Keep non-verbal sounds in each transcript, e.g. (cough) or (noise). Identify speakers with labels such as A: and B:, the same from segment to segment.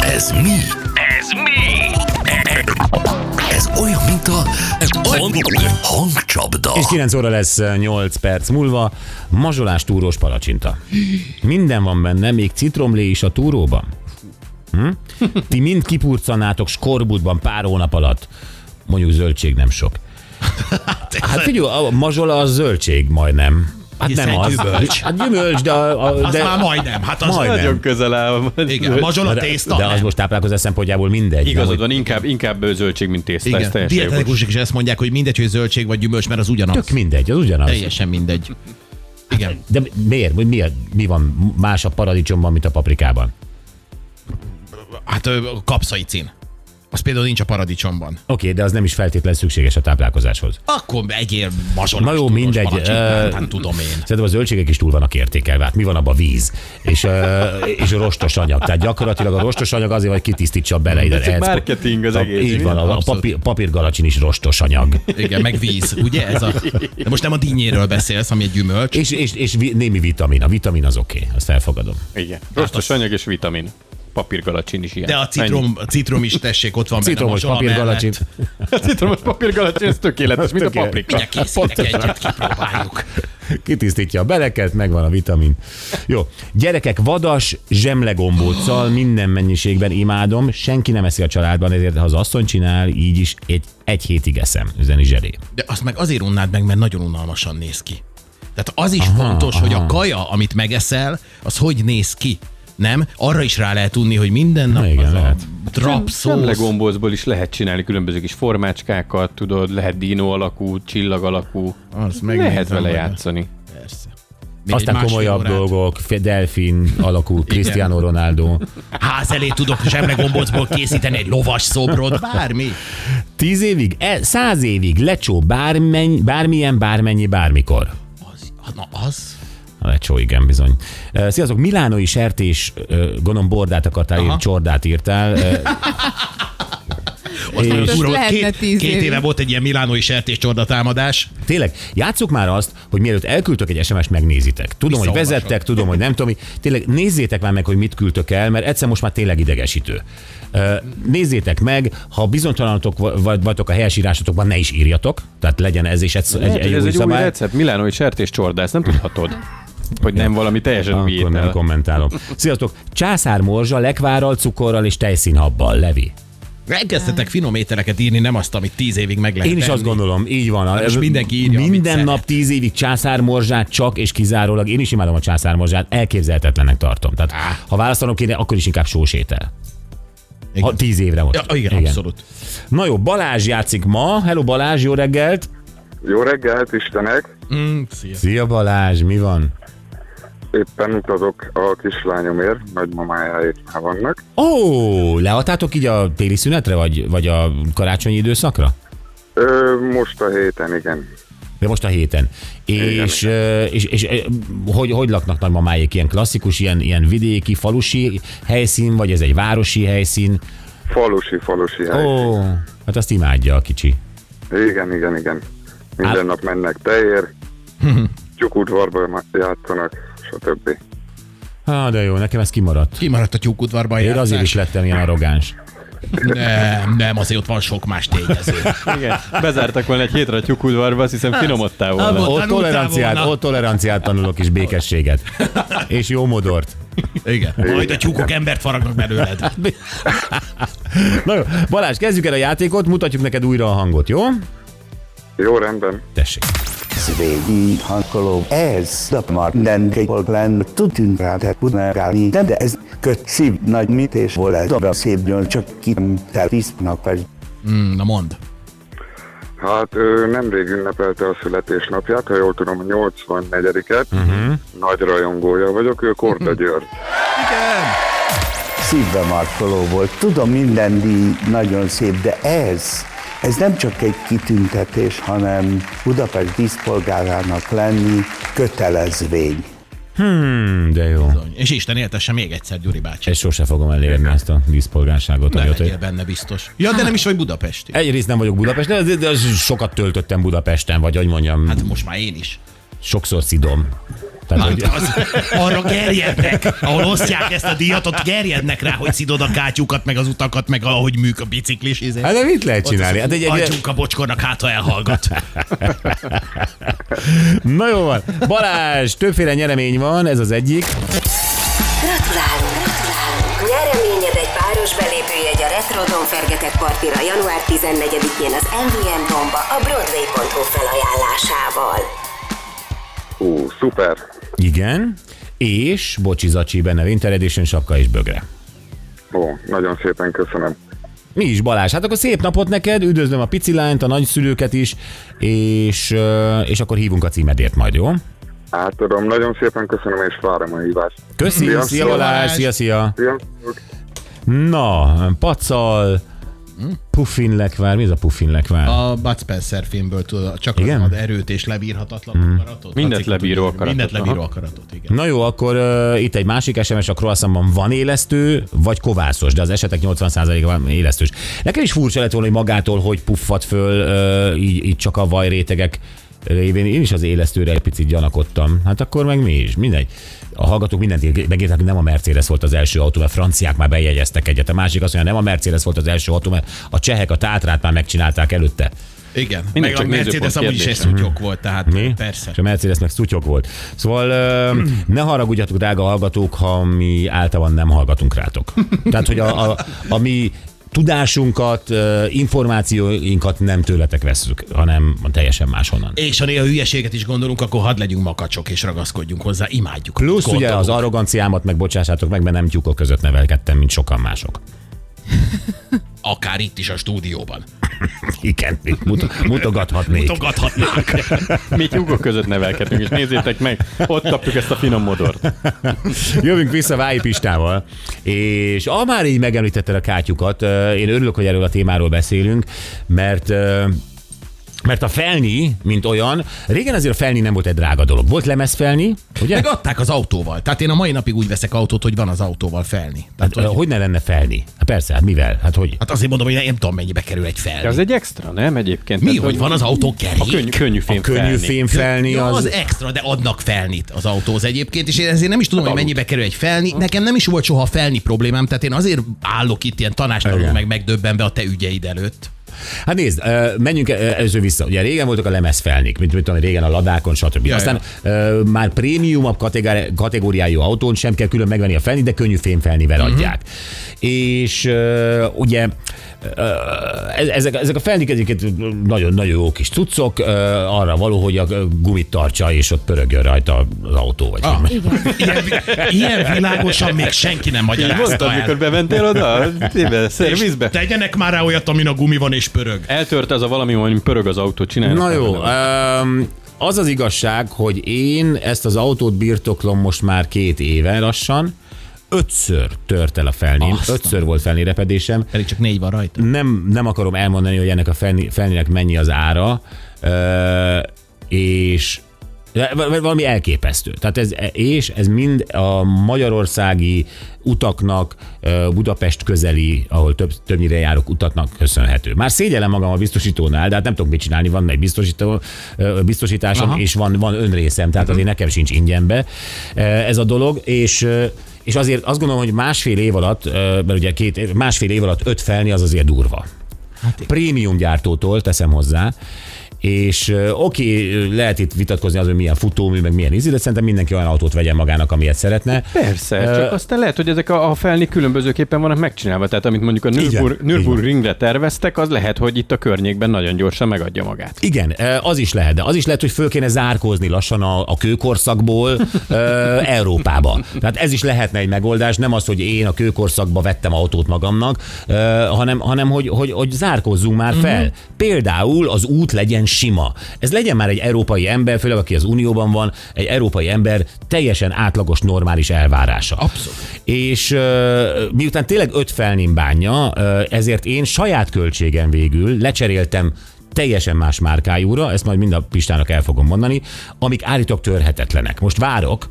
A: Ez mi?
B: Ez mi?
A: Ez olyan, mint a hangcsapda.
C: És 9 óra lesz eh, 8 perc múlva. Mazsolás túrós palacsinta. Minden van benne, még citromlé is a túróban. Hm? Ti mind kipurcanátok skorbutban pár hónap alatt. Mondjuk zöldség nem sok. Hát figyelj, a mazsola az zöldség majdnem. Hát
D: Hiszen
C: nem az.
D: gyümölcs.
C: Hát gyümölcs, de... A, a,
D: Az
C: de
D: már majdnem. Hát az
C: Majdnem.
E: Nagyon közel áll.
D: Igen, a mazsola
C: de,
D: tészta.
C: de az
D: nem.
C: most táplálkozás szempontjából mindegy.
E: Igazad
C: nem, hogy
E: van, inkább, inkább zöldség, mint tészta. Ez
D: Igen,
E: teljesen jogos.
D: dietetikusok is ezt mondják, hogy mindegy, hogy zöldség vagy gyümölcs, mert az ugyanaz.
C: Tök mindegy, az ugyanaz.
D: Teljesen mindegy. Igen.
C: De miért? Mi, mi, mi van más a paradicsomban, mint a paprikában?
D: Hát ö, kapszai cín. Az például nincs a paradicsomban.
C: Oké, de az nem is feltétlenül szükséges a táplálkozáshoz.
D: Akkor egyél mazsolás.
C: Na jó,
D: tudós
C: mindegy,
D: palacsintát,
C: ö-
D: Hát tudom én.
C: Szerintem a zöldségek is túl vannak értékelve. Hát mi van abban víz? És, ö, és a rostos anyag. Tehát gyakorlatilag a rostos anyag azért, hogy kitisztítsa bele ide.
E: Ez csak
C: Ehetsz-
E: marketing az
C: a,
E: egész,
C: Így
E: mi?
C: van, a, a
D: Abszolút.
C: papír, papírgalacsin is rostos anyag.
D: Igen, meg víz, ugye? Ez a... De most nem a dinnyéről beszélsz, ami egy gyümölcs.
C: És, és, és vi- némi vitamin. A vitamin az oké, okay, azt elfogadom.
E: Igen. Rostos anyag és vitamin. Papírgalacsin is ilyen.
D: Hát De a citrom, a citrom is tessék, ott van benne
C: Citromos
D: mazsola
C: papírgalacsin.
D: mellett.
E: Ennyi. Citromos papírgalacsin, ez tökéletes, mint a
C: Tökéletes.
E: paprika.
D: Mindjárt készítek egyet, kipróbáljuk.
C: Kitisztítja a beleket, megvan a vitamin. Jó. Gyerekek, vadas zsemlegombóccal minden mennyiségben imádom. Senki nem eszi a családban, ezért ha az asszony csinál, így is egy, egy hétig eszem. Üzeni zseré.
D: De azt meg azért unnád meg, mert nagyon unalmasan néz ki. Tehát az is aha, fontos, aha. hogy a kaja, amit megeszel, az hogy néz ki. Nem? Arra is rá lehet unni, hogy minden nap
C: igen,
D: az
C: lehet.
D: a drap szósz.
E: Szemlegombózból is lehet csinálni különböző kis formácskákat, tudod, lehet dino alakú, csillag alakú.
D: Az
E: Lehet vele
D: majd.
E: játszani.
D: Persze. Még egy
C: Aztán
D: másfél
C: komolyabb
D: órát
C: dolgok, Fe- delfin alakú Cristiano Ronaldo.
D: Ház elé tudok zsemlegombocból készíteni egy lovas szobrot, bármi.
C: Tíz évig, e, száz évig lecsó bármenny, bármilyen, bármennyi, bármikor.
D: Az, na az.
C: A lecsó, igen, bizony. Ö, Sziasztok, Milánoi sertés, ö, gondolom bordát akartál írni, csordát írtál. Ö,
D: Az nagyon
C: És-
D: durva.
F: Lehetne
D: Két,
F: tíz
D: két
F: évig.
D: éve volt egy ilyen milánói sertéscsorda támadás.
C: Tényleg, játsszuk már azt, hogy mielőtt elküldtök egy SMS-t, megnézitek. Tudom, hogy
D: Visszaolvasod.
C: vezettek, tudom, hogy nem tudom. mi. Tényleg nézzétek már meg, hogy mit küldtök el, mert egyszer most már tényleg idegesítő. Ö, Nézzétek meg, ha bizonytalanatok va- vagy- vagytok a helyesírásotokban, ne is írjatok. Tehát legyen ez is egy, egy,
E: Lehet,
C: egy,
E: hogy
C: egy
E: ez
C: új
E: egy új
C: szabály.
E: recept. Milánói sertés csordász, nem
D: (laughs)
E: tudhatod. Hogy nem valami teljesen új
C: Akkor nem
E: étel.
C: kommentálom. Sziasztok, császár morzsa, lekvárral, cukorral és tejszínhabbal, Levi.
D: Elkezdtetek finom ételeket írni, nem azt, amit tíz évig meg lehet
C: Én is azt
D: enni.
C: gondolom, így van. A-
D: most mindenki írja, amit
C: Minden
D: szeret.
C: nap tíz évig császármorzsát csak és kizárólag. Én is imádom a császármorzsát, elképzelhetetlennek tartom. Tehát ha választanom kéne, akkor is inkább sós étel. Ha
D: Igen.
C: tíz évre most.
D: Ja, igen, igen, abszolút.
C: Na jó, Balázs játszik ma. Hello Balázs, jó reggelt.
G: Jó reggelt, Istenek!
D: Mm, szia.
C: Szia Balázs, mi van?
G: Éppen utazok a kislányomért, nagymamájáért már vannak.
C: Ó, leadtátok így a téli szünetre, vagy, vagy a karácsonyi időszakra?
G: Ö, most a héten, igen.
C: De most a héten. És, ö, és, és, ö, hogy, hogy laknak nagymamáik? Ilyen klasszikus, ilyen, ilyen vidéki, falusi helyszín, vagy ez egy városi helyszín?
G: Falusi, falusi hely. Oh.
C: Ó, hát azt imádja a kicsi.
G: Igen, igen, igen. Minden
C: Á-
G: nap mennek teér, tyúkudvarba ma- játszanak, stb.
C: Há, de jó, nekem ez kimaradt.
D: Kimaradt a tyúkudvarban
C: Én
D: játszás.
C: azért is lettem ilyen arrogáns.
D: Nem, nem, azért ott van sok más tényező.
E: Igen. Bezártak volna egy hétre a tyúkudvarba, azt hiszem finomodtál
D: Ah,
E: volna.
D: volt.
C: Ott
D: Tanultál
C: toleranciát,
D: volna.
C: ott toleranciát tanulok, és békességet. És jó modort.
D: Igen. Majd a tyúkok embert faragnak belőled.
C: Na jó, Balázs, kezdjük el a játékot, mutatjuk neked újra a hangot, jó?
G: Jó rendben.
C: Tessék.
H: Svegi hankoló ez a már nem képolplán tudtunk rá te punárálni, de ez kötszi nagy mit és hol ez a szép csak ki nem tervisznak vagy.
D: Mm, Na mond.
G: Hát ő nemrég ünnepelte a születésnapját, ha jól tudom, 84-et. Uh-huh. Nagy rajongója vagyok, ő Korda György.
H: Szívbe markoló volt. Tudom, minden díj nagyon szép, de ez, ez nem csak egy kitüntetés, hanem Budapest díszpolgárának lenni kötelezvény.
C: Hmm, de jó.
D: És Isten éltesse még egyszer, Gyuri bácsi.
C: Ezt sose fogom elérni, ezt a díszpolgárságot.
D: Nem
C: amióta-
D: legyél benne biztos. Ja, de nem is vagy budapesti.
C: Egyrészt nem vagyok Budapest, de, de, de sokat töltöttem Budapesten, vagy hogy mondjam, hát,
D: Hát most már én is.
C: sokszor szidom. Tehát,
D: Hát
C: hogy
D: az, arra gerjednek, ahol osztják ezt a díjat, ott gerjednek rá, hogy szidod a kátyukat, meg az utakat, meg ahogy műk a biciklis. izé.
C: Hát de mit lehet csinálni? Hát egy, egy,
D: Adjunk a bocskornak, hát ha elhallgat.
C: na jó van. Balázs, többféle nyeremény van, ez az egyik.
B: Gratulálunk! Gratulálunk! Nyereményed egy páros belépőjegy a Retrodom Fergetek partira január 14-én az MVM Domba a Broadway.hu felajánlásával.
G: Ú, szuper.
C: Igen. És, bocsi Zacsi, benne Winter Edition sapka és bögre.
G: Ó, nagyon szépen köszönöm.
C: Mi is Balázs? Hát akkor szép napot neked, üdvözlöm a pici lányt, a nagyszülőket is, és, ö, és akkor hívunk a címedért majd, jó?
G: Átadom, nagyon szépen köszönöm, és várom a hívást.
C: Köszi, szia,
G: Szia.
C: szia Balázs, szia, szia.
G: Sziasztok!
C: Na, pacal, puffin lekvár, mi ez a puffin lekvár?
D: A Bud Spencer filmből tudod, csak
C: Igen? Hmm.
D: igen? az ad erőt és lebírhatatlan mm. akaratot.
E: Mindent
D: Laci,
E: lebíró
D: tudod,
E: akaratot,
D: Mindent lebíró
E: aha.
D: akaratot, igen.
C: Na jó, akkor uh, itt egy másik SMS, a croissantban van élesztő, vagy kovászos, de az esetek 80%-a van élesztős. Nekem is furcsa lett volna, hogy magától hogy puffad föl, uh, így, így csak a vajrétegek révén. Én is az élesztőre egy picit gyanakodtam. Hát akkor meg mi is, mindegy. A hallgatók mindent ír- megírták, nem a Mercedes volt az első autó, mert franciák már bejegyeztek egyet. A másik azt mondja, nem a Mercedes volt az első autó, mert a csehek a tátrát már megcsinálták előtte.
D: Igen,
E: Mindig
D: meg a
E: csak
D: Mercedes
E: nézőpont
D: amúgy is egy
E: kérdése.
D: szutyok volt, tehát
C: Hmm. Mi?
D: persze.
C: És a Mercedes meg szutyog volt. Szóval ö, ne haragudjatok, drága hallgatók, ha mi általában nem hallgatunk rátok. Tehát, hogy a, a, a mi tudásunkat, ö, információinkat nem tőletek veszük, hanem teljesen máshonnan.
D: És ha néha hülyeséget is gondolunk, akkor hadd legyünk makacsok és ragaszkodjunk hozzá, imádjuk.
C: Plusz ugye az
D: Gondolunk.
C: arroganciámat meg bocsássátok meg, mert nem tyúkok között nevelkedtem, mint sokan mások.
D: Akár itt is a stúdióban.
C: Igen, mut- mutogathatnék. (laughs)
D: Togadhatnánk.
E: Mi tyúkok között nevelkedünk, és nézzétek meg, ott kapjuk ezt a finom modort.
C: Jövünk vissza Vályi Pistával. És ha már így megemlítetted a kátyukat, ö, én örülök, hogy erről a témáról beszélünk, mert ö, mert a felni, mint olyan, régen azért a felni nem volt egy drága dolog. Volt lemezfelni, ugye?
D: Meg adták az autóval. Tehát én a mai napig úgy veszek autót, hogy van az autóval felni. Tehát,
C: Hát, ö, hogy ne lenne felni? Hát persze, hát mivel? Hát hogy?
D: hát azért mondom, hogy nem tudom, mennyibe kerül egy
E: De az
D: felni.
E: egy extra, nem egyébként?
D: Mi,
E: Tehát,
D: hogy van az autó kerék?
E: A könnyű, könnyű fém
C: A könnyű
E: felni.
C: fém felni
D: Ja, az
C: az...
D: extra, de adnak felnit az autóz egyébként, és én ezért nem is tudom, hogy mennyibe kerül egy felni. Nekem nem is volt soha felni problémám, tehát én azért állok itt ilyen tanástalanul
C: Igen.
D: meg megdöbbenve a te ügyeid előtt.
C: Hát nézd, ö, menjünk el- először vissza. Ugye régen voltak a lemezfelnik, mint, mint tudom, régen a ladákon, stb.
D: Ja,
C: Aztán ö, már prémiumabb kategóri- kategóriájú autón sem kell külön megvenni a felnit, de könnyű fémfelnivel
D: Mhm.
C: adják. És ö, ugye ö, e- ezek, ezek a felnik egyébként nagyon-nagyon jó kis cuccok, ö, arra való, hogy a gumit tartsa, és ott pörögjön rajta az autó. Vagy ah,
D: Ilyen, ilyen világosan még senki nem
E: Így
D: magyarázta
E: mondtad, mikor
D: el.
E: bementél oda? Tébe, szervizbe.
D: Tegyenek már rá olyat, amin a gumi van és pörög.
E: Eltört az a valami, hogy pörög az autó, csinálnak.
C: Na jó,
E: belőle.
C: öm, az az igazság, hogy én ezt az autót birtoklom most már két éve lassan, ötször tört el a felnén,
D: Aztán.
C: ötször volt felnérepedésem.
D: Pedig csak négy van rajta.
C: Nem, nem akarom elmondani, hogy ennek a felni- felnének mennyi az ára, ö, és de val- val- valami elképesztő. Tehát ez, és ez mind a magyarországi utaknak, ö, Budapest közeli, ahol több, többnyire járok utaknak köszönhető. Már szégyellem magam a biztosítónál, de hát nem tudok mit csinálni, van egy biztosító, ö, biztosításom, Aha. és van, van önrészem, tehát azért nekem sincs ingyenbe ö, ez a dolog, és ö, és azért azt gondolom, hogy másfél év alatt, ö, mert ugye két, év- másfél év alatt öt felni az azért durva. Prémium gyártótól teszem hozzá, és ö, oké, ö, lehet itt vitatkozni az, hogy milyen futómű, meg milyen ízű, de szerintem mindenki olyan autót vegyen magának, amilyet szeretne.
E: Persze, csak aztán lehet, hogy ezek a, a felni különbözőképpen vannak megcsinálva. Tehát amit mondjuk a
C: van,
E: Nürburg,
C: így van.
E: Nürburgringre terveztek, az lehet, hogy itt a környékben nagyon gyorsan megadja magát.
C: Igen, ö, az is lehet, de az is lehet, hogy föl kéne zárkózni lassan a, a kőkorszakból ö, Európába. Tehát ez is lehetne egy megoldás, nem az, hogy én a kőkorszakba vettem autót magamnak, ö, hanem, hanem hogy, hogy, hogy zárkózzunk már fel. Uh-huh. Például az út legyen sima. Ez legyen már egy európai ember, főleg aki az Unióban van, egy európai ember teljesen átlagos, normális elvárása.
D: Abszolút.
C: És ö, miután tényleg öt felnim bánja, ö, ezért én saját költségen végül lecseréltem teljesen más márkájúra, ezt majd mind a Pistának el fogom mondani, amik állítólag törhetetlenek. Most várok,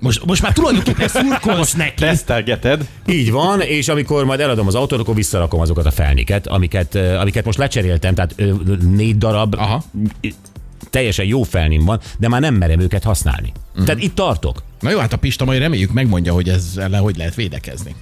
D: Most, most már (laughs) tulajdonképpen szurkolsz neki.
E: Tesztelgeted?
C: így van, és amikor majd eladom az autót, akkor visszarakom azokat a felniket, amiket, ö, amiket most lecseréltem, tehát ö, négy darab
D: Aha.
C: teljesen jó felnim van, de már nem merem őket használni. Tehát itt tartok.
D: Na jó, hát a Pista majd reméljük megmondja, hogy ezzel hogy lehet védekezni.